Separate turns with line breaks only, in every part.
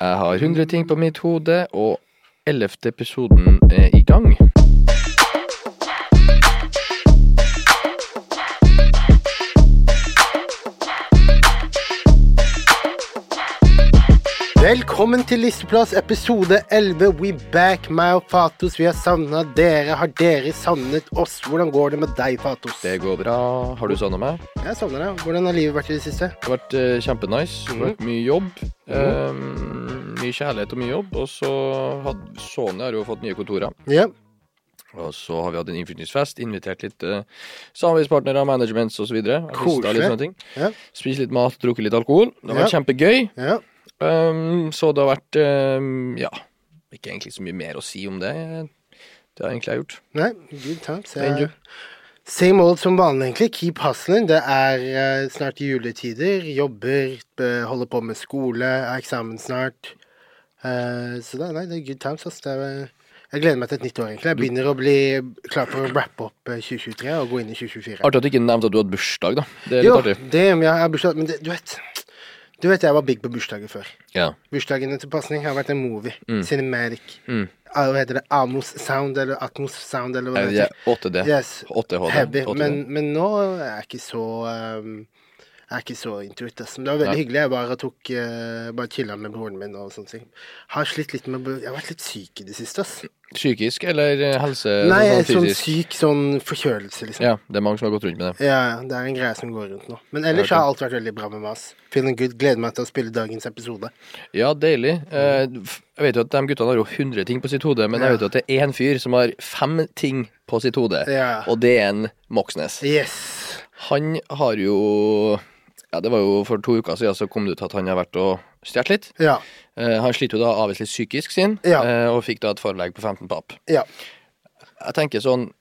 Jeg har 100 ting på mitt hode, og 11. episoden er i gang.
Velkommen til Listeplass episode 11. We back, meg og Fatos. Vi har savna dere. Har dere savnet oss? Hvordan går det med deg, Fatos?
Det går bra. Har du savna meg?
Jeg savner deg. Hvordan har livet vært i det siste?
Det har vært eh, kjempenice. Det har
Mm.
vært mye jobb. eh, mye kjærlighet og mye jobb. Og så hadde Sony har jo fått nye kontorer.
Ja.
Og så har vi hatt en innflytningsfest, invitert litt eh, samarbeidspartnere, managements osv.
Koselig. Ja.
Spist litt mat, drukket litt alkohol. Det har vært kjempegøy.
ja.
Um, så det har vært um, Ja, ikke egentlig så mye mer å si om det. Det har egentlig jeg gjort.
Nei, good times.
Thank you.
Jeg... Same old som vanlig, egentlig. Keep hustling. Det er eh, snart juletider. Jobber, eh, holder på med skole, er eksamen snart. Eh, så det, nei, det er good times. ass. Det er, eh, jeg gleder meg til et nytt år, egentlig. Jeg begynner å bli klar for å rappe opp eh, 2023 og gå inn i 2024.
Artig at du ikke nevnte at du hadde bursdag, da. Det er litt
Jo,
artig.
det men jeg har bursdag Men det, du vet Du vet jeg var big på bursdager før.
Ja.
Bursdagene til pasning har vært en movie. Cinematic.
Mm.
Ah, Hva heter det? Amos Sound, eller Atmos Sound, eller hva det
Jeg
heter.
er 8D.
Yes.
8HD.
Heavy.
8D.
Men, men nå er jeg ikke så um, jeg er ikke så into it. ass. Men det var veldig
Nei.
hyggelig. Jeg bare tok eh, Bare chilla med broren min og sånne ting. Har slitt litt med Jeg har vært litt syk i det siste, ass.
Psykisk eller eh, helse?
Nei, jeg er sånn
fysisk?
syk sånn forkjølelse, liksom.
Ja, det er mange som har gått rundt med det.
Ja, ja, det er en greie som går rundt nå. Men ellers har alt vært veldig bra med meg. ass. Feeling good. Gleder meg til å spille dagens episode.
Ja, deilig. Eh, Jeg vet jo at de guttene har jo 100 ting på sitt hode, men jeg vet jo at det er én fyr som har fem ting på sitt hode,
Ja.
og det er en Moxnes.
Yes.
Han har jo Ja, det var jo for to uker siden så kom det ut at han har vært og stjålet litt.
Ja.
Eh, han sliter jo da avviselig psykisk sin,
Ja.
eh, og fikk da et forelegg på 15 papp.
ja.
Jeg tenker sånn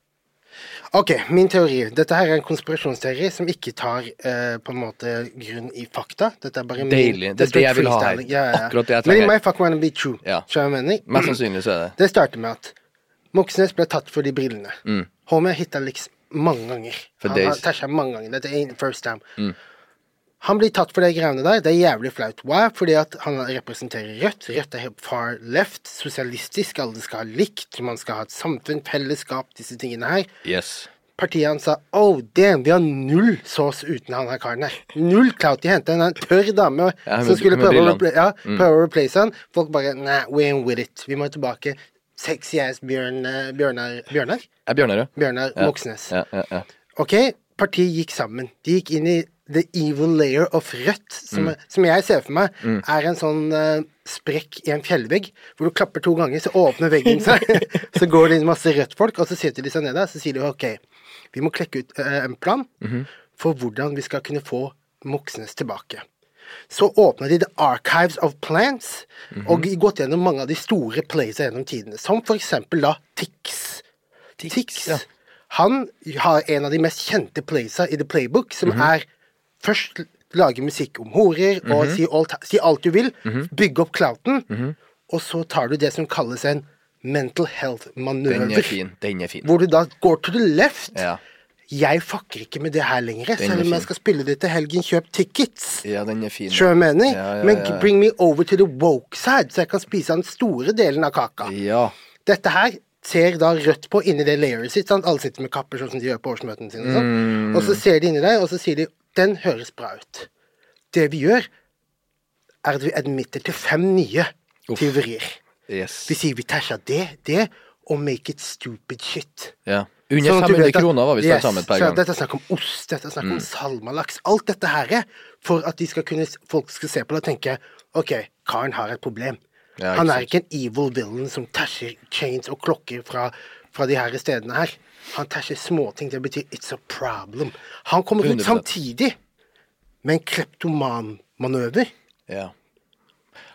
Ok, min teori. Dette her er en konspirasjonsteori som ikke tar eh, på en måte grunn i fakta. Dette er bare min-
Deilig. Det er
er
det jeg vil ha her.
freestyling. Ja, ja, ja.
Akkurat det jeg
Men
trenger.
it might fuck wanna be true.
Ja.
Så jeg mener.
Mest sannsynlig så er det
Det starter med at Moxnes ble tatt for de brillene.
Mm.
Homie har hittet liksom mange ganger.
For
han har
days. Mm.
tæsja mange ganger. Dette er first time. Han blir tatt for de greiene der. Det er jævlig flaut. Why? Fordi at han representerer Rødt. Rødt er helt far left. Sosialistisk. Alle skal ha likt. Man skal ha et samfunn, fellesskap, disse tingene her.
Yes.
Partiet hans sa oh damn, vi har null sås uten han her karen her. Null clout. De henta en tørr dame
Ja, med-
som skulle
med
prøve
brillene.
å, repla- ja, prøve å replace han. Folk bare nah, we ain't with it. Vi må tilbake. Sexy ass Bjørn, eh, Bjørnar Bjørnar?
Jeg er Bjørnarød.
Bjørnar Moxnes.
Ja, ja, ja.
Ok, partiet gikk sammen. De gikk inn i the evil layer of rødt, som, som jeg ser for meg er en sånn eh, sprekk i en fjellvegg, hvor du klapper to ganger, så åpner veggen seg, så går det inn masse rødt-folk, og så sitter de seg ned der, så sier de ok, vi må klekke ut eh, en plan for hvordan vi skal kunne få Moxnes tilbake. Så åpna de The Archives of Plants, og gått gjennom mange av de store playsa gjennom tidene, som for eksempel da Tix. Tix.
ja.
Han har en av de mest kjente playsa i The Playbook, som
Mhm.
er først lage musikk om horer og
Mhm.
si alt, si alt du vil, bygge opp clouten, og så tar du det som kalles en mental
Den er
health-manøver.
fin. Den er fin.
Hvor du da går to the left.
Ja.
Jeg fucker ikke med det her lenger,
er
selv om
fin.
jeg skal spille det til helgen. Kjøp tickets.
Ja, den er fin.
Skjønner du hva jeg mener?
Ja, ja,
Men
ja.
bring me over to the woke side, så jeg kan spise av den store delen av kaka.
Ja.
Dette her ser da Rødt på inni det layeret sitt. Sant? Alle sitter med kapper sånn som de gjør på årsmøtene sine. Og, sånn. og så ser de inni der, og så sier de den høres bra ut. Det vi gjør, er at vi admitter til fem nye tyverier.
Yes.
Vi sier vi tæsja det, det, og make it stupid shit.
Ja.
Sånn
Under
at du
500
vet at-
kroner var vi
Yes,
yes, sammen per
så
gang. Mm.
Dette er snakk om ost, dette er snakk om salmalaks. Alt dette her er for at de skal kunne, folk skal se på det og tenke OK, karen har et problem.
Ja, ikke
Han er
sant.
ikke en evil villain som tæsjer chains og klokker fra, fra de her stedene her. Han tæsjer småting. Det betyr it's a problem. Han kommer ut
100%.
samtidig med en kleptomanmanøver.
Ja.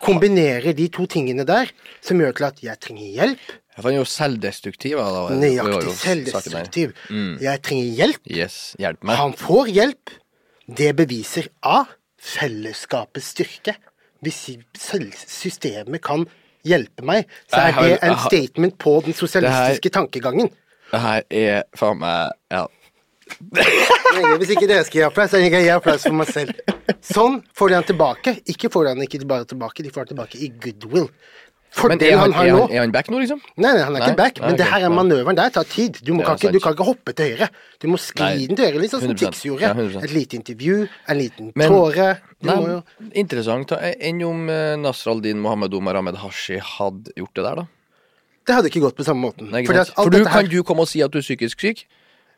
Kombinerer de to tingene der, som gjør til at jeg trenger hjelp.
For han er jo selvdestruktiv. da, var- det var jo
Nøyaktig
saken der.
selvdestruktiv.
Mm.
Jeg trenger hjelp.
Yes. Hjelp meg.
Han får hjelp. Det beviser A. Fellesskapets styrke. Hvis selv- systemet kan hjelpe meg, så
Jeg
er
har-
det
jeg
en
har-
statement på den sosialistiske tankegangen.
Det her er faen meg Ja.
Nei, Hvis ikke dere skal gi applaus, så gir jeg applaus for meg selv. Sånn får de han tilbake. Ikke får de han ikke bare tilbake, de får han tilbake i goodwill. For
Men
det
er han,
han har
er,
nå
han, er han back nå, liksom?
Nei, nei, han er
Nei?
ikke back, men
Nei,
det
ok.
her er manøveren der tar tid. Du, må
Det er
kan ikke, du
sant.
kan ikke hoppe til høyre. Du må skli
Nei,
den til høyre, litt sånn som
100%.
Tix gjorde.
Ja, 100%.
Et lite intervju, en liten
Men-
tåre. Du
Nei,
må jo
Interessant. Enn om eh, Nasr al-Din Mohammed Omar Ahmed Hashi hadde gjort det der, da?
Det hadde ikke gått på samme måten.
Nei, ikke
Fordi
sant?
at alt
For du,
dette her-
kan du komme og si at du er psykisk syk?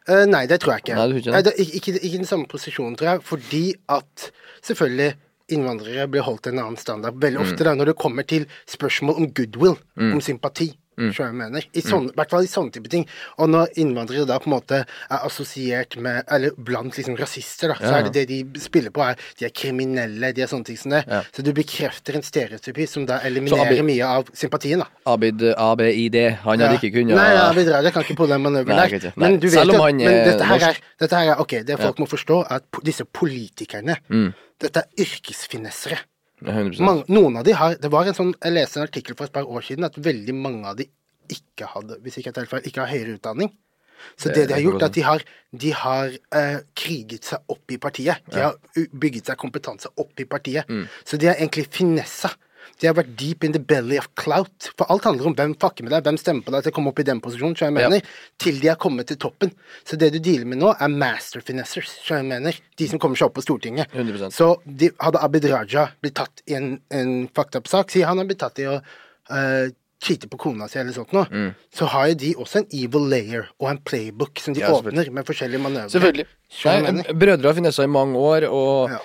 Eh, nei, det tror jeg ikke.
Nei, du tror ikke det?
Nei, det er ikke, ikke, ikke den samme posisjonen, tror jeg. Fordi at selvfølgelig innvandrere blir holdt til en annen standard
Mm.
veldig ofte da, når det kommer til spørsmål om goodwill, om sympati.
Mm.
tror jeg jeg mener. I sånne, hvert fall i sånne type ting. Og når innvandrere da på en måte er assosiert med, eller blant liksom rasister, da, så
Ja,
er det det de spiller på, er de er kriminelle, de er sånne ting som det.
Ja.
Så du bekrefter en stereotypi som da
Så
eliminerer
Abi-
mye av sympatien, da.
Abid ABID. Han hadde ikke kunnet
Nei, ja, vi drar det. Kan ikke på den manøveren
Nei, jeg
der.
vet ikke. Nei,
Men du vet
selv om
jo at-
han er
men dette her er,
norsk.
dette her er Ok, det folk må forstå, er at po- disse politikerne
Mm.
Dette er yrkesfinessere.
100%.
Mange, noen av de har Det var en sånn Jeg leste en artikkel for et par år siden at veldig mange av de ikke hadde Hvis ikke jeg tar helt feil, ikke har høyere utdanning. Så
Det-
det, de
det
har
går
gjort, er at de har, de har eh, kriget seg opp i partiet. De har u- bygget seg kompetanse opp i partiet.
Mm.
Så de har egentlig finessa. De har vært deep in the belly of clout. For alt handler om hvem fucker med deg, hvem stemmer på deg til å komme opp i den posisjonen, så jeg
Ja.
mener, til de har kommet til toppen. Så det du dealer med nå, er master finessers, så jeg mener. De som kommer seg opp på Stortinget.
100%.
Så de, hadde Abid Raja blitt tatt i en, en fucked up-sak Si han har blitt tatt i å eh, cheate på kona si eller sånt noe.
Mm.
Så har jo de også en evil layer og en playbook som de
Ja, selvfølgelig.
åpner med forskjellige manøvrer.
Selvfølgelig.
Skjønner
Nei,
jeg mener.
brødre har finessa i mange år, og
Ja.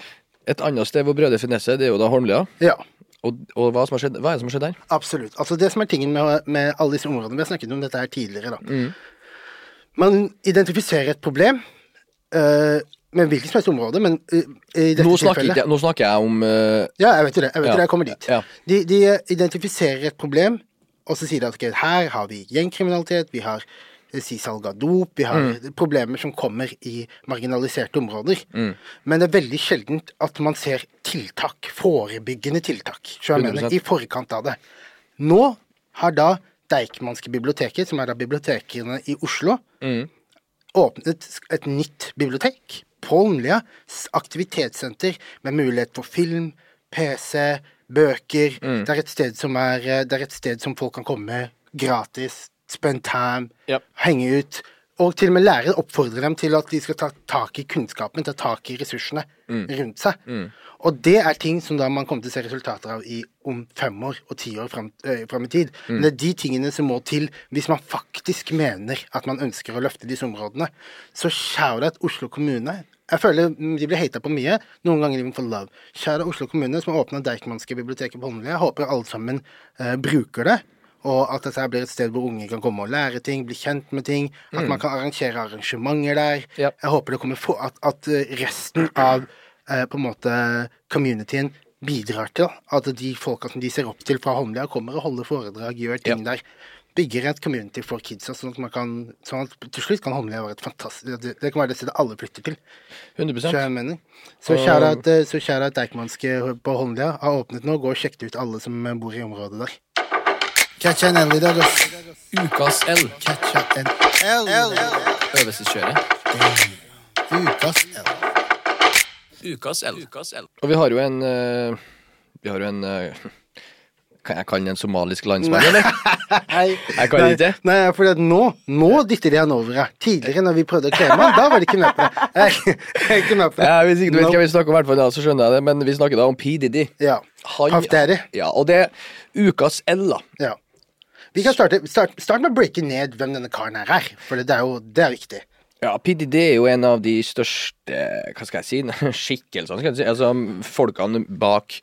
et annet sted hvor brødre finesser, det er jo da Holmlia.
Ja,
Og, og hva, som har skjedd, hva er det som har skjedd der?
absolutt. Altså det som er tingen med, med alle disse områdene Vi har snakket om dette her tidligere, da.
Mm.
Man identifiserer et problem eh, med hvilket som helst område, men eh, i dette
Nå snakker,
tilfellet
ikke, jeg- nå snakker jeg om eh,
Ja, jeg vet jo det. Jeg vet
Ja.
jo det, jeg kommer dit.
Ja.
De, de identifiserer et problem, og så sier de at ok, her har vi gjengkriminalitet, vi har eh, si salg av dop, vi har
Mm.
problemer som kommer i marginaliserte områder. Men det er veldig sjeldent at man ser tiltak, forebyggende tiltak, så jeg mener,
100%.
i forkant av det. Nå har da Deichmanske biblioteket, som er da bibliotekene i Oslo, åpnet sk- et nytt bibliotek på Holmlia. s- Aktivitetssenter med mulighet for film, PC, bøker. Det, er et sted som er, eh, det er et sted som folk kan komme gratis, spend time,
Ja.
henge ut. Og til og med lærere oppfordrer dem til at de skal ta tak i kunnskapen, ta tak i ressursene rundt seg. Og det er ting som da man kommer til å se resultater av i om fem år og ti år fram, eh, fram i tid. Men det er de tingene som må til hvis man faktisk mener at man ønsker å løfte disse områdene. Så shout-out Oslo kommune. Jeg føler mm, de blir hata på mye. Noen ganger de må få love. Shout-out Oslo kommune, som har åpna Deichmanske biblioteket på Holmlia. Jeg håper alle sammen eh, bruker det. Og at dette her blir et sted hvor unge kan komme og lære ting, bli kjent med ting. At man kan arrangere arrangementer der.
Ja.
Jeg håper det kommer for, at, at eh, resten av eh, på en måte communityen bidrar til da. at de folka som de ser opp til fra Holmlia, kommer og holder foredrag, gjør ting der. Bygger et community for kidsa, sånn at, man kan, sånn at til slutt kan Holmlia være et fantastisk Det, det kan være det stedet alle flytter til.
100
Så jeg mener. Så
Og-
kjære at, eh, så kjære at Deichmanske på Holmlia har åpnet nå. Gå og sjekk det ut, alle som eh, bor i området der. Catch an L i dag, ass.
Ukas L.
Catch an L.
Øvelseskjøret.
Ukas L.
Ukas L. Ukas L. Og vi har jo en eh, Vi har jo en eh, Kan jeg kalle den en somalisk landsmann, eller?
Hei.
Jeg kan ikke.
Nei, nei for at nå, nå dytter de han over. her. Tidligere, når vi prøvde å klemme han, da var de ikke med på det. Jeg er ikke med på det.
Ja, hvis ikke du vet hva vi snakker om, i hvert fall, da, så skjønner jeg det, men vi snakker da om P. Diddy.
Ja.
Han-
Puff Daddy.
Ja, og det er ukas L, da.
Ja. Vi kan starte start, start med å breake ned hvem denne karen her er, for det er jo det er viktig.
Ja, PDD er jo en av de største hva skal jeg si, skikkelsene, skal jeg si. Altså folkene bak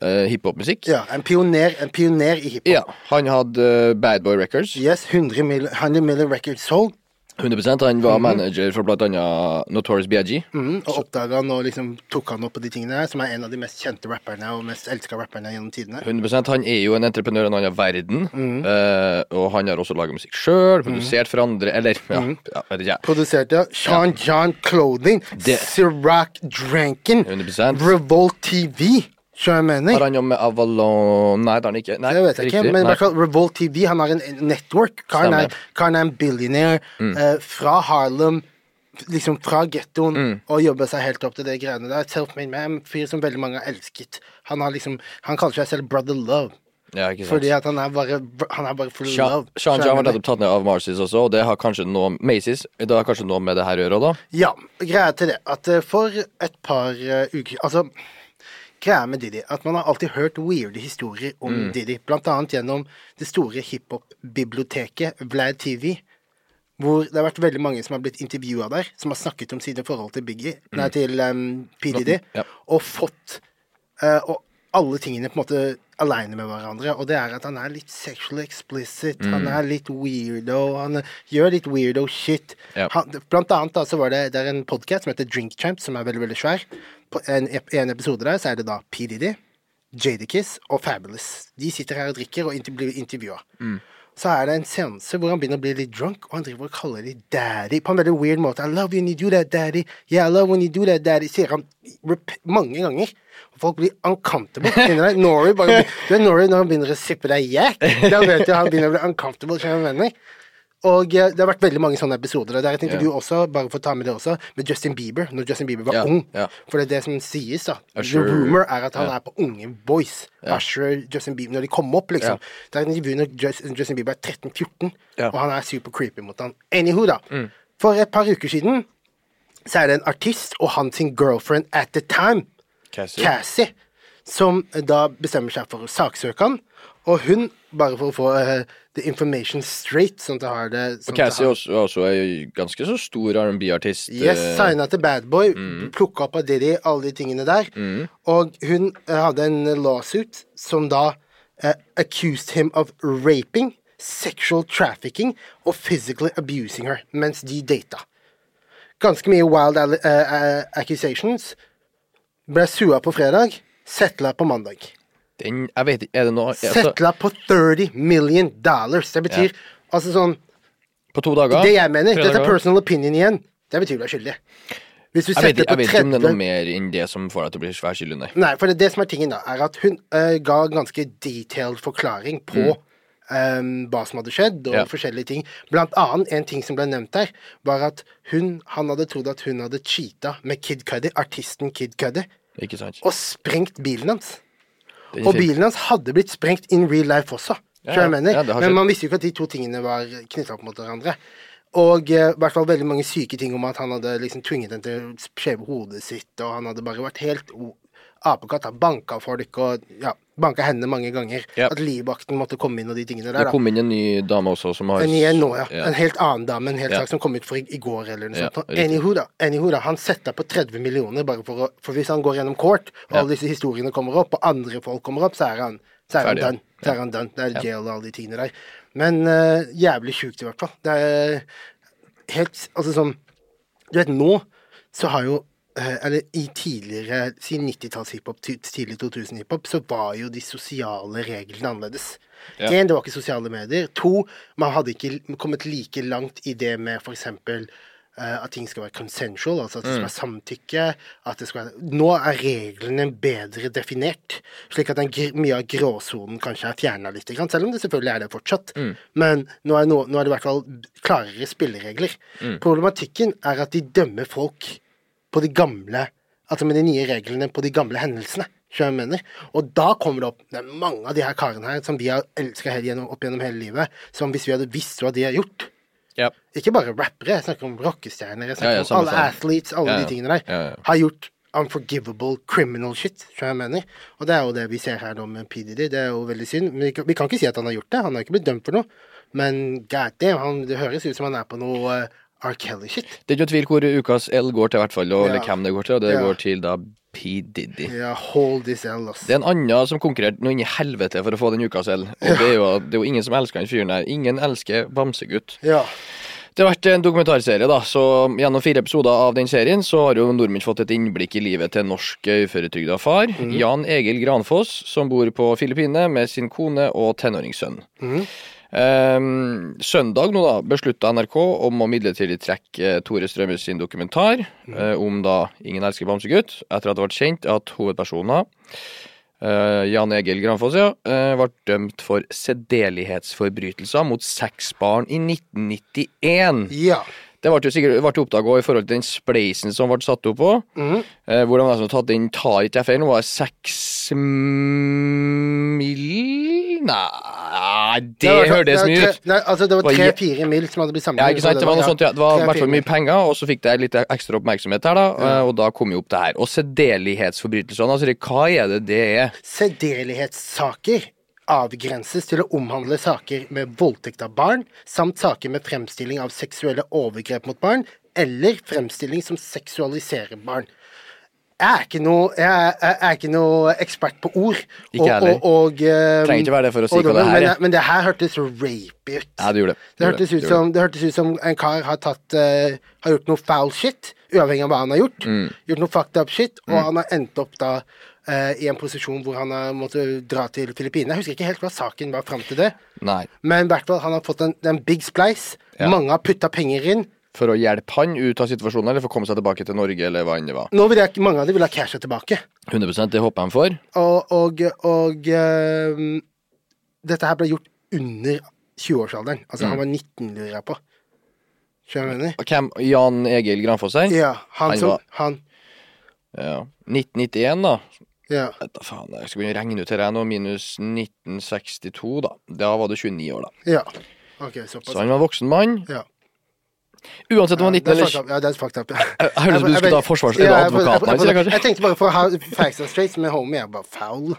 uh, hiphopmusikk.
Ja, En pioner, en pioner i hiphop.
Ja, han hadde eh, Bad Boy Records.
Yes, 100 mil, 100 million records sold.
100 Han
Mhm.
var manager for blant annet Notorious BIG.
Mm, og oppdaga han og liksom tok han opp på de tingene her, som er en av de mest kjente rapperne og mest elska rapperne gjennom tidene.
100 Han er jo en entreprenør i en annen verden,
Mhm.
eh, og han har også laga musikk sjøl, produsert for andre, eller ja,
Mhm.
ja, vet ikke jeg.
Produserte av Sean John Clothing,
Det-
Sirac Dranken,
100%.
Revolt TV, så jeg
Har
mener.
han jobb med Avalon Nei, det har han ikke. Nei,
Det vet jeg ikke,
riktig,
men i
nei.
hvert fall Revolt TV, han har en en network. Karen er,
Stemmer. Mm.
karen er en billionaire eh, fra Harlem, liksom fra gettoen
Mm.
og jobba seg helt opp til det greiene der. Self-made man, en fyr som veldig mange har elsket. Han har liksom Han kaller seg selv Brother Love,
Ja, ikke sant.
fordi at han er bare Han er bare full of
Sha-
love.
Sean
Skjønner
John var
du?
nettopp tatt ned av Marcis også, og det har kanskje noe Macy's, det har kanskje noe med det her å gjøre òg, da.
Ja, greia til det at eh, for et par eh, uker Altså, greia med Didi at man har alltid hørt weirde historier om
Mm.
Didi, blant annet gjennom det store hiphop-biblioteket Vlad TV, hvor det har vært veldig mange som har blitt intervjua der, som har snakket om sine forhold til Biggie, nei, til em, P. Didi,
Mm. Ja.
og fått eh, og alle tingene på en måte aleine med hverandre, og det er at han er litt sexually explicit,
Mm.
han er litt weirdo, han gjør litt weirdo shit.
Ja.
Han, blant annet da, så var det, det er en podkast som heter Drink Champ, som er veldig, veldig svær. På en, ep- en episode der så er det da P. Diddy, Jadakiss og Fabulous. De sitter her og drikker og inter blir intervjua. Så er det en seanse hvor han begynner å bli litt drunk, og han driver og kaller de daddy på en veldig weird måte. I love you when you do that, daddy. Yeah, I love when you do that, daddy. Sier han rep mange ganger. Og folk blir uncomfortable inni deg. Norrie bare Du er Norrie når han begynner å sippe deg jack. Da vet du han begynner å bli uncomfortable, kjære venner. Og eh, det har vært veldig mange sånne episoder. og Det er et intervju også, bare for å ta med det også, med Justin Bieber, når Justin Bieber var
Ja,
ung.
ja.
For det er det som sies, da.
Usher.
The rumor er at han
Ja.
er på unge boys. Usher, Justin Bieber, når de kom opp,
Ja.
liksom. Det er et intervju når Jus- Justin Bieber er 13-14,
Ja. Mm.
og han er super creepy mot han. Anywho, da. For et par uker siden så er det en artist og hans girlfriend at the time
Cassie.
Cassie, som da bestemmer seg for å saksøke han. Og hun, bare for å få eh, the information straight, sånn at jeg har det sånn at jeg
Cassie
har-
også, også er jo ganske så stor R&B-artist.
Yes,
eh,
signa til Badboy, mm. plukka opp av Diddy, alle de tingene der. Og hun eh, hadde en lawsuit som da eh, accused him of raping, sexual trafficking og physically abusing her mens de data. Ganske mye wild alle- eh, eh, accusations. Ble sua på fredag, settla på mandag.
Den, jeg vet ikke, er det noe altså,
Settla på 30 million dollars. Det betyr altså sånn
På to dager?
Det jeg mener,
Tre
dette er
dager?
personal opinion igjen. Det betyr du er skyldig. Hvis du
Jeg vet,
setter
ikke- jeg
på
vet ikke om det er
30
noe mer enn det som får deg til å bli svær skyldig, nei.
Nei, for det, det som er tingen da, er at hun eh, ga ganske detailed forklaring på eh, hva som hadde skjedd, og
Mm. Ja.
forskjellige ting. Blant annet, en ting som ble nevnt der, var at hun, han hadde trodd at hun hadde cheata med Kid Cudi, artisten Kid Cudi,
Ikke sant?
og sprengt bilen hans.
Den
Og
sier-
bilen hans hadde blitt sprengt in real life også.
Ja,
tror jeg
ja.
mener.
Ja, det har skjedd.
Men man visste jo ikke at de to tingene var knytta opp mot hverandre. Og eh, i hvert fall veldig mange syke ting om at han hadde liksom tvunget henne til å skjeve hodet sitt, og han hadde bare vært helt o- apekatt. Han banka folk og ja, banka henne mange ganger.
Ja.
At livvakten måtte komme inn og de tingene der.
Det
da.
kom inn en ny dame også, som har
En igjen nå, ja.
Ja.
En helt annen dame, en hel
Ja.
sak som kom ut for i, i går eller noe
Ja,
sånt.
riktig.
Anywho da, anywho da, han setter på 30 millioner bare for å For hvis han går gjennom court, og alle disse historiene kommer opp, og andre folk kommer opp, så er han så er han
Ferdig, ja.
done. Så er han done. Det er jail og alle de tingene der. Men eh, jævlig sjukt, i hvert fall. Det er helt Altså sånn Du vet, nå så har jo eh, eller i tidligere, si 90-talls-hiphop, ti- tidlig 2000-hiphop, så var jo de sosiale reglene annerledes.
Ja.
En, det var ikke sosiale medier. To, man hadde ikke l- kommet like langt i det med for eksempel eh, at ting skal være consensual, altså at det skal være samtykke. At det skal være Nå er reglene bedre definert, slik at den, gr- mye av gråsonen kanskje er fjerna litt, grann, selv om det selvfølgelig er det fortsatt. Men nå er, no, nå er det i hvert fall klarere spilleregler. Problematikken er at de dømmer folk på de gamle Altså med de nye reglene på de gamle hendelsene. skjønner du hva jeg mener. Og da kommer det opp Det er mange av de her karene her som vi har elska opp gjennom hele livet, som hvis vi hadde visst hva de har gjort
Ja.
Ikke bare rappere, jeg snakker om rockestjerner, jeg
Ja,
snakker
ja,
om
samme
alle
faen.
athletes, alle
Ja, ja.
de tingene der,
Ja, ja.
har gjort unforgivable criminal shit, skjønner du hva jeg mener. Og det er jo det vi ser her nå med PDD, det er jo veldig synd. Men vi kan, vi kan ikke si at han har gjort det, han har ikke blitt dømt for noe. Men god damn, han, det høres ut som han er på noe eh, R. Kelly-shit.
Det er ikke noe tvil hvor ukas L går til, i hvert fall, og, eller
Ja.
hvem det går til, og det
Ja.
går til da P. Diddy.
Ja, hold this L, ass.
Det er en annen som konkurrerte noe inn i helvete for å få den ukas L, og det er jo, det er jo ingen som elsker den fyren der. Ingen elsker Bamsegutt.
Ja.
Det har vært en dokumentarserie, da, så gjennom fire episoder av den serien så har jo nordmenn fått et innblikk i livet til en norsk uføretrygda far, Jan Egil Granfoss, som bor på Filippinene med sin kone og tenåringssønn.
Mm.
Ehm, søndag nå da beslutta NRK om å midlertidig trekke eh, Tore Strømmes sin dokumentar
Mm.
eh, om da 'Ingen elsker bamsegutt', etter at det ble kjent at hovedpersoner eh, Jan Egil Granfoss ja, eh, ble dømt for sedelighetsforbrytelser mot seks barn i 1991.
Ja.
Det ble jo sikkert ble oppdaga i forhold til den spleisen som ble satt opp òg.
Mhm.
Eh, hvor de nesten tatt inn Tar ikke jeg feil, nå var det seks mil Nei, det
var- sånn-
hørtes
var
mye
tre-
ut.
Nei, altså, det var
Var je-
tre-fire mil som hadde blitt samlet.
Ja, ikke sant?
så
Det var noe
ja,
sånt, ja. Det var i hvert
tre-fire
fall mye penger, og så fikk det litt ekstra oppmerksomhet her, da. eh, Og da kom jo opp det her. Og sedelighetsforbrytelsene, altså det- hva er det det er?
Sedelighetssaker avgrenses til å omhandle saker med voldtekt av barn, samt saker med fremstilling av seksuelle overgrep mot barn, eller fremstilling som seksualiserer barn. Jeg er ikke noe, jeg er, jeg er ikke noe ekspert på ord.
Ikke jeg heller.
Og, og, um,
Trenger ikke være det for å si hva
og
det
noe,
her
men,
er.
Men det her hørtes rapey ut.
Ja, det gjorde det.
Det
gjorde
hørtes,
det
ut
gjorde
som, det hørtes ut som en kar har, tatt, eh, har gjort noe foul shit, uavhengig av hva han har gjort.
Mm.
Gjort noe fucked up shit, og han har endt opp da eh, i en posisjon hvor han har måttet dra til Filippinene. Jeg husker ikke helt hva saken var fram til det,
Nei.
men i hvert fall han har fått en, en big splice.
Ja.
Mange har putta penger inn.
For å hjelpe han ut av situasjonen, eller for å komme seg tilbake til Norge, eller hva enn det var.
Nå vil jeg, mange av dem vil ha casha tilbake.
100 det håper han for.
Og, og, og eh, dette her ble gjort under 20-årsalderen. Altså,
Mm.
han var 19, lurer jeg på. Skjønner du hva jeg mener?
Og Hvem? Jan Egil Granfoss her?
Ja, han,
Han
som
var-
Han,
Ja. 1991, da.
ja.
Vet da faen, jeg skal begynne å regne ut her jeg nå. Minus 1962, da. Da var du 29 år, da.
Ja. Ok, såpass.
Så han var en voksen mann.
Ja.
Uansett om han var 19
det er
eller
fucked up. Ja, det er fucked up. ja.
Jeg hørte ut som du
Jeg-
skulle ta
jeg-
forsvars-
Ja,
eller
jeg-
advokaten
jeg-
hans, eller
jeg-
kanskje?
Jeg tenkte bare for å ha facts and straights, men homie er bare foul.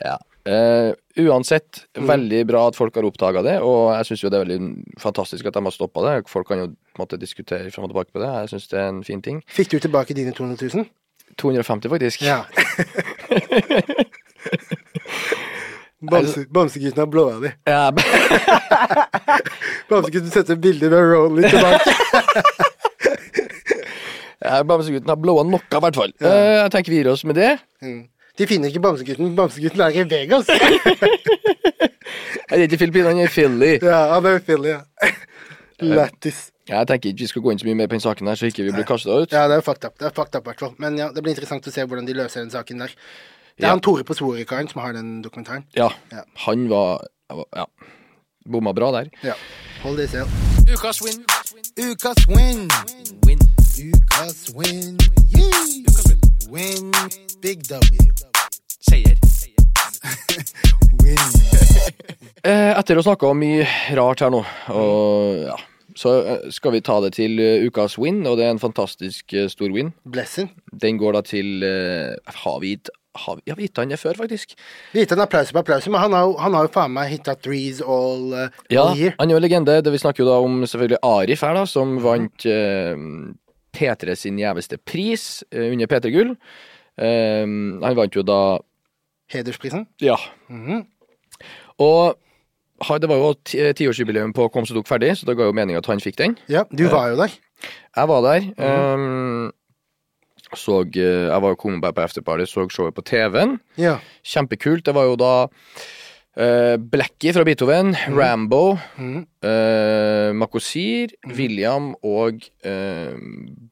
Ja. Eh, uansett,
Mm.
veldig bra at folk har oppdaga det, og jeg syns jo det er veldig fantastisk at de har stoppa det. Folk kan jo på en måte diskutere fram og tilbake på det. Jeg syns det er en fin ting.
Fikk du tilbake dine 200 000?
250, faktisk.
Ja. Bamse, bamsegutten har blåa di.
Ja,
Bamsegutten setter bilder med Rolly tilbake.
Jeg Bamsegutten har blåa noe, i hvert fall. Eh, jeg tenker vi gir oss med det.
Mm. De finner ikke Bamsegutten. Bamsegutten er i Vegas.
Jeg er ikke i Filippinene, jeg er i Philly.
Ja, han er i Philly, ja. Lættis.
Jeg tenker ikke vi skal gå inn så mye mer på den saken her, så ikke vi blir kasta ut.
Ja, det er fucked up. Det er fucked up, hvertfall. Men ja, det blir interessant å se hvordan de løser den saken der. Det er
Ja.
han Tore på Svorekaren som har den dokumentaren.
Ja.
Ja.
Han var Ja. Bomma bra der.
Ja. Hold det selv.
Ukas win.
Ukas win.
Win.
Ukas win. Yee. Win. Big W.
Seier.
Win.
Eh, etter å ha snakka om mye rart her nå, og ja så eh, skal vi ta det til eh, ukas win, og det er en fantastisk eh, stor win.
Blessing.
Den går da til eh, Har vi gitt har vi, Ja, vi gitt han det før, faktisk.
Vi gitt han applaus på applaus, men han har, jo- han har jo faen meg hitta threes all, eh,
Ja,
all year.
han er jo en legende. Det vi snakker jo da om selvfølgelig Arif her, da, som vant eh, P3 sin gjeveste pris eh, under P3 Gull. Eh, han vant jo da
Hedersprisen. Mhm.
Ja. Og ha- det var jo ti- eh, tiårsjubileum på Kom så dukk ferdig, så det ga jo mening at han fikk den.
Ja, du var jo der.
Jeg var der. eh, så, eh, jeg var jo kommet bare på afterparty, så showet på TV-en.
Ja.
Kjempekult. Det var jo da eh, Blackie fra Beethoven, Rambo,
Mhm.
eh, Makosir, William og eh,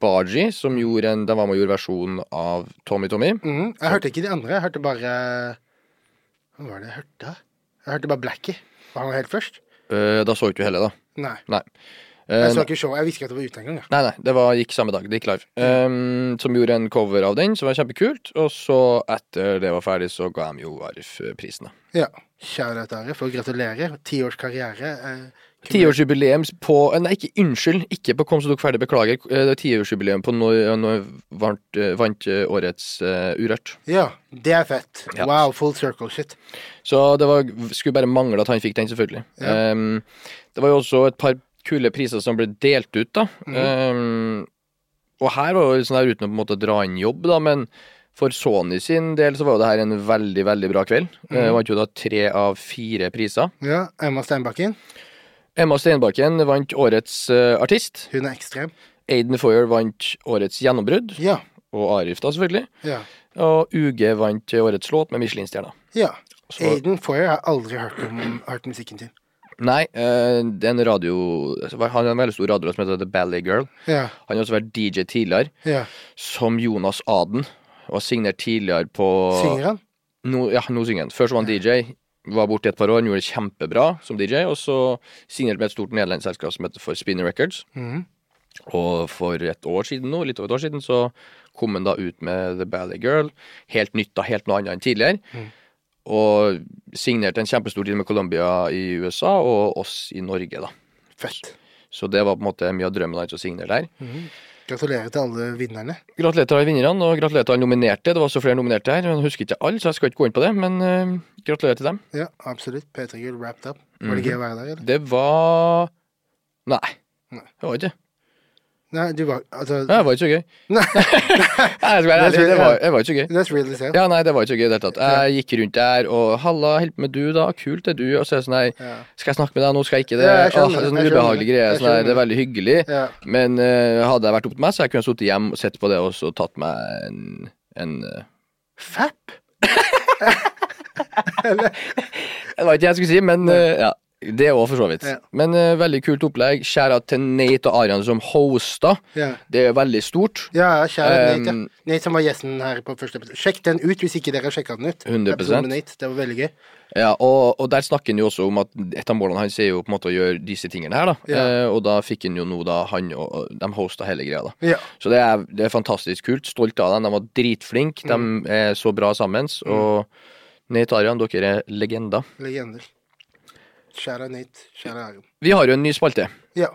Baji, som gjorde en, de var med og gjorde versjonen av Tommy Tommy.
Mhm. Jeg hørte ikke de andre. Jeg hørte bare Hva var det jeg hørte? Jeg hørte bare Blackie. Var han helt først?
Eh, da så ikke du heller, da.
Nei.
Eh,
Jeg så ikke showet. Jeg visste ikke at det var ute engang. jeg.
Nei, nei, det var, gikk samme dag. Det gikk live. Ehm, som gjorde en cover av den, som var kjempekult. Og så, etter det var ferdig, så ga de jo Arif eh, prisen, da.
Ja. Kjære Are, for å gratulere. Ti års karriere. eh,
Tiårsjubileum på eh, Nei, ikke, unnskyld, ikke på Kom så dukk ferdig, beklager. Eh, Det er tiårsjubileum på når, når vant, eh, vant eh, årets eh, Urørt.
Ja, det er fett.
Ja.
Wow, full circle shit.
Så det var, skulle bare mangle at han fikk den, selvfølgelig.
Ja.
Ehm, det var jo også et par kule priser som ble delt ut, da. Ehm, og her var jo sånn her uten å på en måte dra inn jobb, da, men for Sony sin del så var jo det her en veldig, veldig bra kveld. Mm. vant jo da tre av fire priser.
Ja, Emma Steinbakken.
Emma Steinbakken vant årets eh, artist.
Hun er ekstrem.
Aiden Foyer vant årets gjennombrudd.
Ja.
Og Arif, da, selvfølgelig.
Ja.
Og UG vant årets låt med Michelin-stjerna.
ja.
Så-
Aiden Foyer har aldri hørt, om, hørt musikken til.
Nei, eh, det er en radio Han er en veldig stor radiolåt som heter The Ballet Girl.
Ja.
Han har også vært DJ tidligere,
ja.
som Jonas Aden. Og har signert tidligere på
Synger han?
Nå, ja, nå synger han. Før så var han DJ. Var borte i et par år, han gjorde det kjempebra som DJ, og så signerte med et stort nederlandsk selskap som heter for Spinner Records.
Mhm.
Og for et år siden nå, litt over et år siden, så kom han da ut med The Ballet Girl. Helt nytt da, helt noe annet enn tidligere. Og signerte en kjempestor deal med Colombia i USA, og oss i Norge, da.
Fett. Mhm.
Så det var på en måte mye av drømmen hans å signere der.
Gratulerer til alle vinnerne.
Gratulerer til alle vinnerne, og gratulerer til alle nominerte. Det var også flere nominerte her, men jeg husker ikke alle, så jeg skal ikke gå inn på det. Men eh, gratulerer til dem.
Ja, absolutt. P3 Gull wrapped up. Var
Mhm.
det gøy å være der, eller?
Det var Nei.
Nei.
Det var ikke det.
Nei, du var Altså
Nei, Det var ikke så gøy.
Nei,
Nei, jeg skal være ærlig, det var, det var ikke så gøy.
that's really sad.
Ja, nei, det var ikke så gøy i det hele tatt. Jeg gikk rundt der og 'Halla, hjelp med du, da. Kult, det er du.' Og så er det sånn her
Ja.
'Skal jeg snakke med deg nå? Skal jeg ikke det?'
Ja, jeg skjønner
Åh, det er
det,
sånn
jeg
ubehagelig
skjønner det,
greie.
jeg
Sånn her,
skjønner
det er veldig hyggelig.
Ja.
Men eh, hadde jeg vært opp til meg, så jeg kunne sittet hjemme og sett på det og så tatt meg en, en eh, Fapp? det var ikke det jeg skulle si, men eh, ja. Det òg, for så vidt.
Ja.
Men eh, veldig kult opplegg. Skjæra til Nate og Arian som hosta.
Ja.
Det er veldig stort.
Ja, ja, kjære Nate.
Um,
Ja. Nate som var gjesten her på første episode. Sjekk den ut hvis ikke dere har sjekka den ut.
100%.
Episoden med Nate, Det var veldig gøy.
Ja, og, og der snakker han jo også om at et av målene hans er jo på en måte å gjøre disse tingene her, da.
Ja.
Eh, og da fikk han jo nå, da, han og og de hosta hele greia, da.
Ja.
Så det er, det er fantastisk kult. Stolt av dem. De var dritflinke. De er så bra sammen. Og Nate Arian, dere er legender.
Legender. Kjære Nate. Kjære Arion.
Vi har jo en ny spalte.
Ja.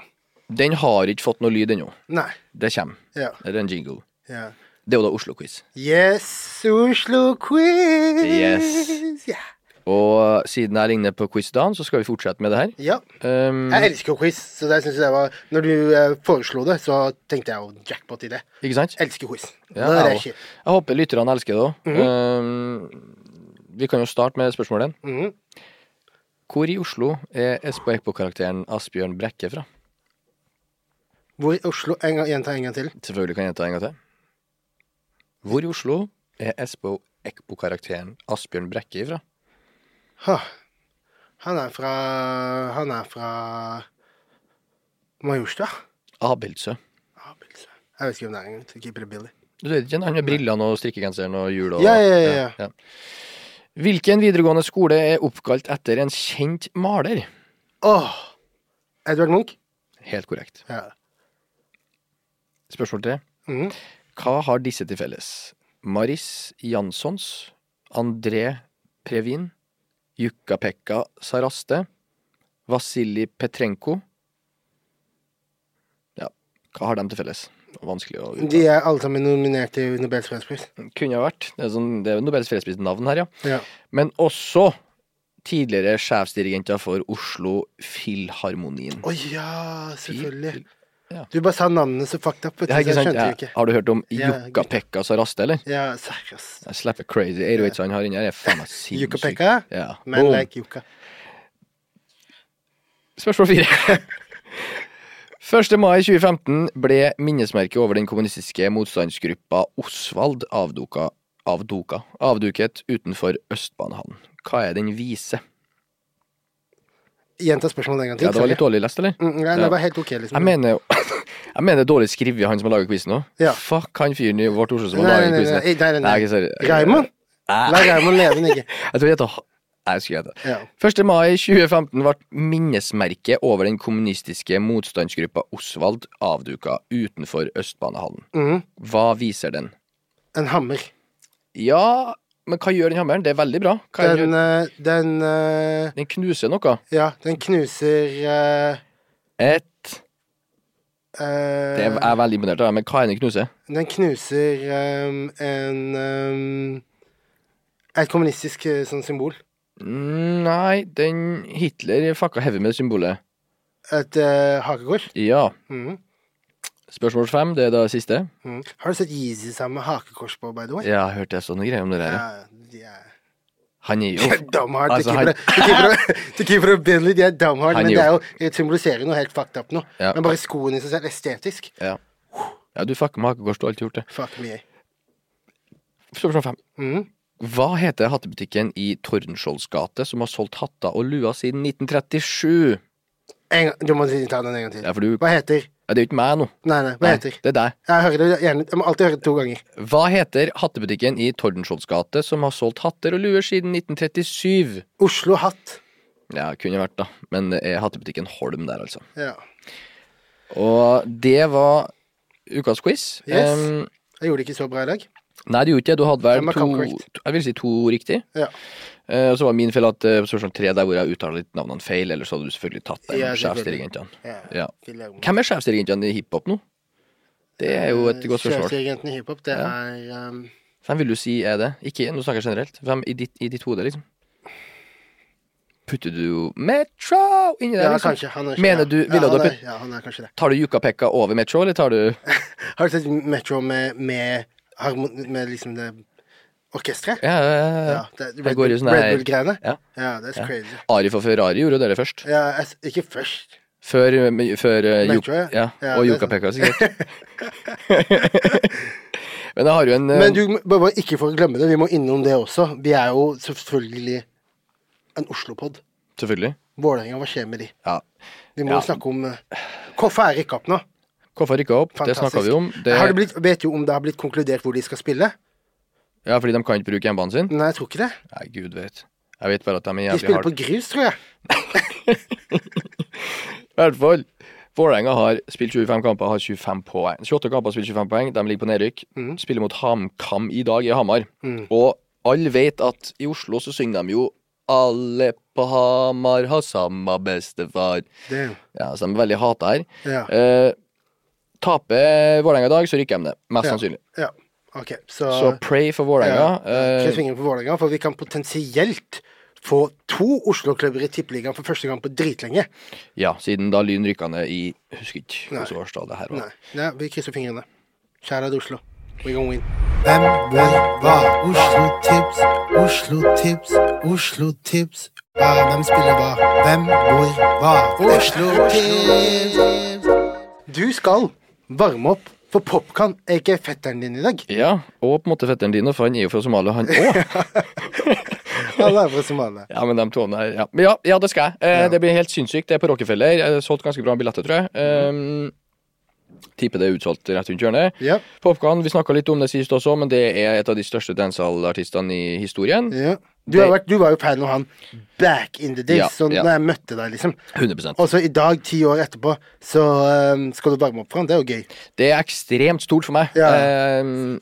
Den har ikke fått noe lyd ennå.
Nei.
Det kommer.
Ja.
Det er en jingle.
ja.
Det er jo da Oslo-quiz.
Yes, Oslo quiz!
Yes.
Ja.
Og siden jeg ligner på quiz-dagen, så skal vi fortsette med det her.
ja.
Um,
Jeg elsker jo quiz, så det synes jeg var Når du eh, foreslo det, så tenkte jeg jo jackpot i det.
ikke sant?
Elsker quiz.
Ja,
det er
jeg,
shit.
også. jeg håper lytterne elsker det òg. vi kan jo starte med spørsmålet.
Mhm.
Hvor i Oslo er Espo Eckbo-karakteren Asbjørn Brekke fra?
Hvor i Oslo en gang, Gjenta en gang til.
Selvfølgelig kan jeg ta en gang til. Hvor i Oslo er Espo Eckbo-karakteren Asbjørn Brekke fra?
Ha. Han er fra Han er fra Majorstua.
Abildsø.
Abelsø. Jeg vet ikke hvem det er engang. så Keeper i Billy.
Du vet ikke, Han med brillene og strikkegenseren og hjul og
Ja, ja, ja, ja.
Hvilken videregående skole er oppkalt etter en kjent maler?
Åh! Edvard Munch?
Helt korrekt.
Ja.
Spørsmål tre.
Mhm.
Hva har disse til felles? Maris Janssons, André Previn, Jukka-Pekka Saraste, Vasilij Petrenko Ja, hva har de til felles? Vanskelig å
De
uttale.
er alle sammen nominert til Nobels fredspris.
Kunne ha vært. Det er, sånn, det er jo Nobels fredsprisnavn her, ja.
Ja.
Men også tidligere sjefsdirigenter for Oslo Filharmonien.
Å ja, selvfølgelig.
Ja.
Du bare sa navnene så fucked up. vet du,
Ja, ikke
så jeg
sant?
skjønte
Ja.
jo ikke.
Har du hørt om
Ja,
Jukka-Pekka Saraste, eller?
Ja, seriøst.
Jeg slipper crazy. 808 han har inni her, er faen meg sinnssyk.
Jukka-pekka?
Ja.
Men
Boom.
like Jukka.
Spørsmål fire. 1. mai 2015 ble minnesmerket over den kommunistiske motstandsgruppa Osvald avduka, avduka, avduket utenfor Østbanehallen. Hva er den vise?
Gjenta spørsmålet en gang til.
Ja, det var litt
sorry.
dårlig lest, eller?
Mm, Nei,
Ja.
det var helt ok, liksom.
Jeg mener, jeg mener dårlig skrevet, han som har laget quizen nå.
Ja.
Fuck han fyren i vårt Oslo som har
Nei, nei,
laget
nei,
quizen.
nei, nei, nei, nei.
ikke sorry.
Raymond? La
Nei,
Raymond leve, Nigge.
jeg tror jeg heter Nei, jeg skulle gjette.
Ja.
1. mai 2015 ble minnesmerket over den kommunistiske motstandsgruppa Osvald avduka utenfor Østbanehallen.
Mhm.
Hva viser den?
En hammer.
Ja, men hva gjør den hammeren? Det er veldig bra. Hva den,
Den, eh, den eh,
den knuser noe.
Ja, den knuser eh,
Et
eh,
det er, Jeg er veldig imponert, av det, men hva er den knuser?
Den knuser ehm, en ehm, Et kommunistisk eh, sånn symbol.
Mm, Nei, den Hitler fucka heavy med det symbolet.
Et uh, hakekors.
Ja.
Mhm.
Spørsmål fem, det er da siste.
Mhm. Har du sett Yeezy sammen med hakekors på, by the way?
Ja, jeg hørte jeg sånne greier om det der. ja.
Ja, de er
Han er
de
jo
er dumhard.
Altså,
Altså,
han-
til keeper og Bentley, de er dumhard,
Han
men
gjorde-
det er jo det symboliserer noe helt fucked up nå.
Ja.
Men bare skoene i seg selv, estetisk,
Ja, du fucker med hakekors, du har alltid gjort det.
fuck me.
Spørsmål fem.
Mhm.
Hva heter hattebutikken i Tordenskiolds gate som har solgt hatter og luer siden 1937?
En gang, du må ta den en gang til.
Ja, for du,
Hva heter
ja, det er jo ikke meg nå.
Nei, nei, hva
Nei,
heter
Det er deg.
Jeg hører det gjerne Jeg må alltid høre det to ganger.
Hva heter hattebutikken i Tordenskiolds gate som har solgt hatter og luer siden 1937?
Oslo Hatt.
Ja, kunne vært, da. Men det er hattebutikken Holm der, altså.
Ja.
Og det var ukas quiz.
Yes.
Em,
Jeg gjorde det ikke så bra i dag.
nei, du gjorde ikke det. Du hadde vel
Fem er
to,
correct.
to Jeg vil si to riktig.
Ja.
Eh, og så var min feil at eh, på spørsmål tre der hvor jeg uttaler litt navnene feil, eller så hadde du selvfølgelig tatt dem.
Ja, selvfølgelig.
sjefsdirigentene.
Ja.
Ja.
Filerom.
Hvem er sjefsdirigentene i hiphop nå? Det er jo
Eh,
et godt spørsmål.
Sjefsdirigenten i hiphop, det
Ja.
er um,
Hvem vil du si er det? Ikke nå snakker jeg generelt. Hvem i ditt, i ditt hode, liksom? Putter du Metro inni der?
Ja,
Liksom?
kanskje. Han er
Mener du- ville
ja,
du
han
ha
er, ja, han er kanskje det.
Tar du Jukka-Pekka over Metro, eller tar du
Har du sett Metro med, med, harmon, med liksom det orkesteret?
Ja, ja, ja, ja.
Ja, det, er
Jeg
Red
går i
Bull-
sånn her-
Red Bull-greiene?
Ja.
ja, that's crazy.
Arif og Ferrari gjorde jo det først.
Ja, jeg, s- ikke først.
Før, eh, før eh,
Metro,
Juk-
ja.
ja.
Ja,
Og
det er
Jukka-Pekka, sikkert. Men jeg har jo en eh,
Men du, må- bare ikke for å glemme det, vi må innom det også. Vi er jo selvfølgelig en Oslo-pod.
Selvfølgelig.
Vålerenga, hva skjer med de?
Ja.
Vi må
Ja.
snakke om eh, Hvorfor er rykka opp nå?
Koffa rykka opp, det
Fantastisk.
snakka vi om. Det,
Har det blitt, vet du om det har blitt konkludert hvor de skal spille?
Ja, Fordi de kan ikke bruke hjemmebanen sin?
Nei, jeg tror ikke det.
Nei, gud vet. Jeg vet bare at de er
De
jævlig
spiller
harde.
på grus, tror jeg.
I hvert fall. Vålerenga har spilt 25 kamper, har 25 poeng. 28 kamper, spiller 25 poeng. De ligger på nedrykk.
Mm.
Spiller mot HamKam i dag i Hamar. Og alle vet at i Oslo så synger de jo 'Alle på Hamar har samme bestefar'.
Det,
Ja, så de er veldig hata her.
ja.
Eh, Taper Vålerenga i dag, så rykker de ned. Mest sannsynlig.
ja. OK, så,
Så pray for Vålerenga.
ja. Kryss
Eh,
fingrene for Vålerenga, for vi kan potensielt få to Oslo-klubber i Tippeligaen for første gang på dritlenge.
ja, siden da Lyn rykka ned i Husker ikke
Nei.
hvordan årstall det her var.
Nei, Nei vi krysser fingrene. Kjære til Oslo. We gonna win.
Hvem, hvor, hva? Oslo tips, Oslo tips, Oslo tips. Hva, hvem spiller hva? Hvem, hvor, hva? Oslo tips.
Du skal varme opp for Popkan, ikke e fetteren din, i dag.
Ja, og på en måte fetteren din, for han er jo fra Somalia, han òg.
Han er fra Somalia.
Ja, men de tårene her, ja. Men ja, ja, det skal jeg. Eh, Det blir helt sinnssykt. Det er på Rockefeller. Eh, Solgt ganske bra billetter, tror jeg.
Mm.
Um, Tipper det er utsolgt rett rundt hjørnet.
Ja.
Popkan, vi snakka litt om det sist også, men det er et av de største dancehall-artistene i historien.
Ja. Du, har vært, du var jo fan av han back in the days,
Ja,
så
ja.
når jeg møtte deg, liksom.
100
Og så i dag, ti år etterpå, så ehm, skal du varme opp for han. Det er jo gøy.
Det er ekstremt stort for meg.
Ja.
Ehm,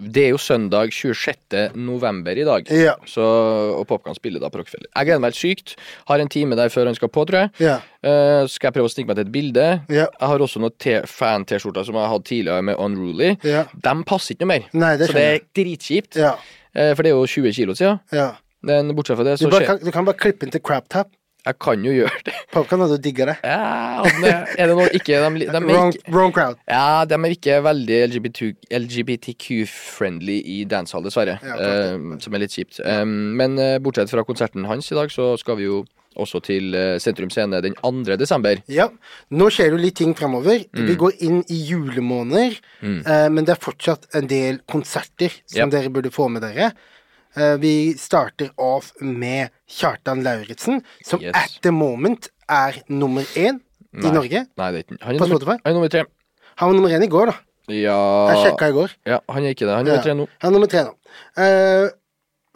det er jo søndag 26. november i dag,
Ja.
så, og Popkan spiller da på Rockefeller. Jeg gleder meg helt sykt. Har en time der før han skal på, tror jeg.
Ja.
Eh, skal jeg prøve å snike meg til et bilde?
Ja.
Jeg har også noen te- fan-T-skjorter som jeg hadde tidligere med Unruly.
Ja.
De passer ikke noe mer,
Nei, det
så det er dritkjipt.
Ja.
Eh, for det er jo 20 kilo siden.
ja.
Men bortsett fra det,
Du,
så
bare
skjer
kan, du kan bare klippe den til craptap.
Jeg kan jo gjøre det.
Popkan hadde digga det.
Ja, men er det noe ikke de, li- de er
Wrong,
ikke-
wrong crowd.
Ja, de er ikke veldig LGBTQ-friendly i dancehall, dessverre.
Ja, klart
eh, som er litt kjipt. Eh, men eh, bortsett fra konserten hans i dag, så skal vi jo også til eh, Sentrum Scene den 2. desember.
Ja, Nå skjer det jo litt ting fremover.
Mm.
Vi går inn i julemåneder, eh, men det er fortsatt en del konserter som
Yep.
dere burde få med dere. Eh, vi starter off med Kjartan Lauritzen, som
Yes.
at the moment er nummer én i Norge.
Nei, det er ikke han. Er
På
nummer,
Spotify?
han er nummer tre.
Han var nummer én i går, da. Jeg
Ja,
sjekka i går.
ja Han er ikke det. Han er nummer tre nå.
Han er nummer tre nå. Eh,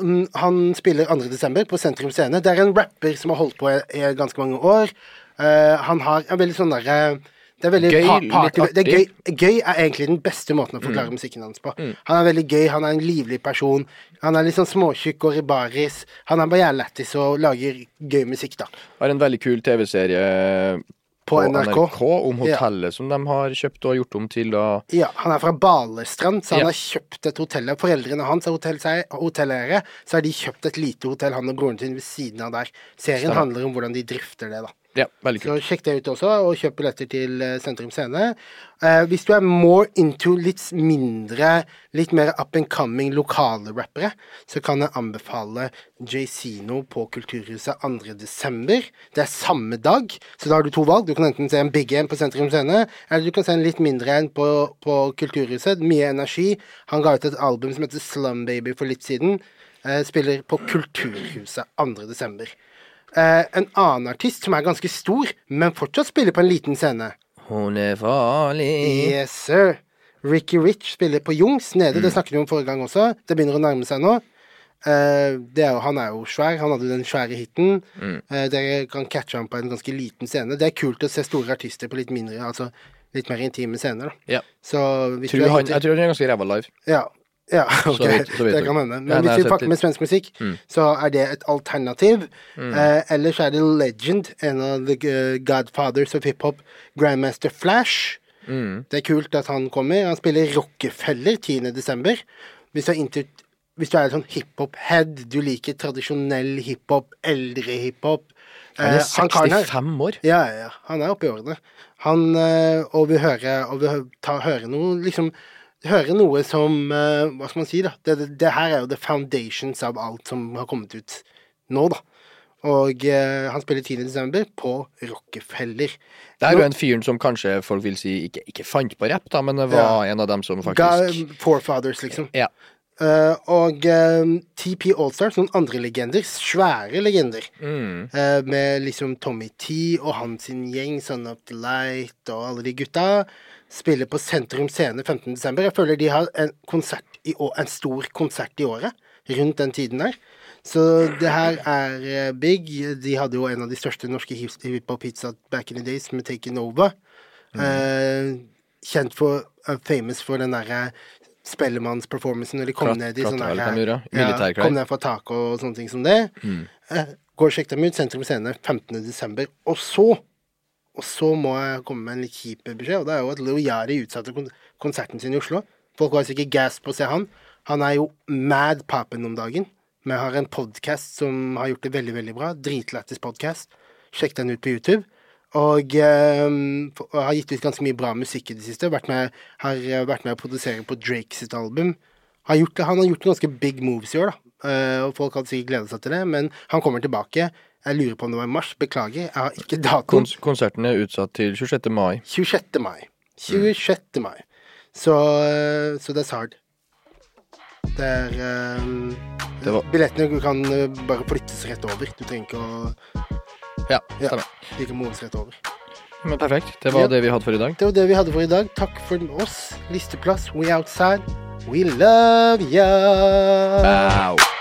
mm, han spiller 2. desember på Sentrum Scene. Det er en rapper som har holdt på i, i ganske mange år. Eh, han har en veldig sånn derre det er veldig
Gøy,
pa-
litt
party, det er gøy,
artig.
gøy er egentlig den beste måten å forklare musikken hans på. Han er veldig gøy, han er en livlig person. Han er litt sånn småtjukk og ribaris. Han er bare jævlig lættis og lager gøy musikk, da.
Har en veldig kul TV-serie
På NRK.
om
Ja.
hotellet som de har kjøpt og gjort om til da
Ja, han er fra Balestrand, så han
Ja.
har kjøpt et hotell. Foreldrene hans er hotell, hotelleiere, så har de kjøpt et lite hotell, han og broren sin, ved siden av der. Serien
Stemmer.
handler om hvordan de drifter det, da.
Ja, veldig kult.
Så sjekk det ut også, og kjøp billetter til eh, Sentrum Scene. Eh, hvis du er more into litt mindre, litt mer up and coming lokale rappere, så kan jeg anbefale Jay-Zino på Kulturhuset 2. desember. Det er samme dag, så da har du to valg. Du kan enten se en big en på Sentrum Scene, eller du kan se en litt mindre en på, på Kulturhuset. Mye energi. Han ga ut et album som heter Slum Baby for litt siden. Eh, spiller på Kulturhuset 2. desember. Eh, en annen artist som er ganske stor, men fortsatt spiller på en liten scene.
Hun er farlig Mhm.
Yes, sir. Ricky Rich spiller på Jungs nede, det snakket vi om forrige gang også. Det begynner å nærme seg nå. Eh, det er jo, han er jo svær. Han hadde jo den svære hiten.
Mm.
Eh, dere kan catche ham på en ganske liten scene. Det er kult å se store artister på litt mindre, altså litt mer intime scener. da.
Ja.
Så hvis
Tror
du er
han,
ute-
jeg tror han er ganske ræva live.
Ja. Ja, ok,
vidt- så vidt nok.
det kan hende. Men
Ja, nei, jeg
hvis
har
vi
sett Mm.
pakker med svensk musikk, så er det et alternativ. Eh, ellers er det Legend, en av the eh, godfathers of hiphop, Grandmaster Flash.
Eh,
Det er kult at han kommer. Han spiller Rockefeller 10. desember. Hvis du er, inter hvis du er sånn hiphop-head, du liker tradisjonell hiphop, eldre hiphop
Han er
eh, han karen her-
65 år.
ja, ja, ja. Han er oppe i årene. Han, eh, og vi hører, og vi hø- tar, hører noe liksom Hører noe som eh, Hva skal man si, da? Det, det, det her er jo the foundations av alt som har kommet ut nå, da. Og eh, han spiller 10. desember på Rockefeller.
Det er jo en fyren som kanskje folk vil si ikke, ikke fant på rapp, da, men det var en av dem som faktisk
Ga- Forefathers, liksom.
Ja.
Eh, og eh, TP Allstars, noen andre legender, svære legender,
Mm.
Eh, med liksom Tommy T og hans sin gjeng, Son of the Light og alle de gutta, spiller på Sentrum Scene 15.12. Jeg føler de har en, konsert i år, en stor konsert i året rundt den tiden der. Så det her er eh, big. De hadde jo en av de største norske hip- hiphop-hitsa back in the days, med Taken Over.
Mm.
Eh, kjent for eh, Famous for den derre Spellemannsperformancen når de kom
Klat-
ned i
klatra
sånne
alt
her-
de gjorde, i
ja,
militærklær.
Kom ned fra taket og sånne ting som det. Eh, Gå og sjekk dem ut. Sentrum Scene 15. desember. Og så og så må jeg komme med en litt kjip beskjed, og det er jo at Leo Yari utsatte kon konserten sin i Oslo. Folk var sikkert gass på å se han. Han er jo mad papen om dagen. Vi har en podkast som har gjort det veldig, veldig bra. Dritlættis podkast. Sjekk den ut på YouTube. Og ehm, f- og har gitt ut ganske mye bra musikk i det siste. Vært med, har eh, vært med å produsere på Drake sitt album. Har gjort, han har gjort ganske big moves i år, da. Eh, og folk hadde sikkert gleda seg til det, men han kommer tilbake. Jeg lurer på om det var i mars. Beklager, jeg har ikke datoen.
Kons Konserten er utsatt til 26. mai.
26. mai. 26. mai. Så, eh, så det er hard. Det er eh,
Det var-
Billettene du kan eh, bare flyttes rett over. Du trenger ikke å
Ja,
Ja,
stemmer.
de kan moves rett over.
Men perfekt. Det var
Ja.
det vi hadde for i dag.
Det var det vi hadde for i dag. Takk for oss. Listeplass, we outside. We love ya.
Au.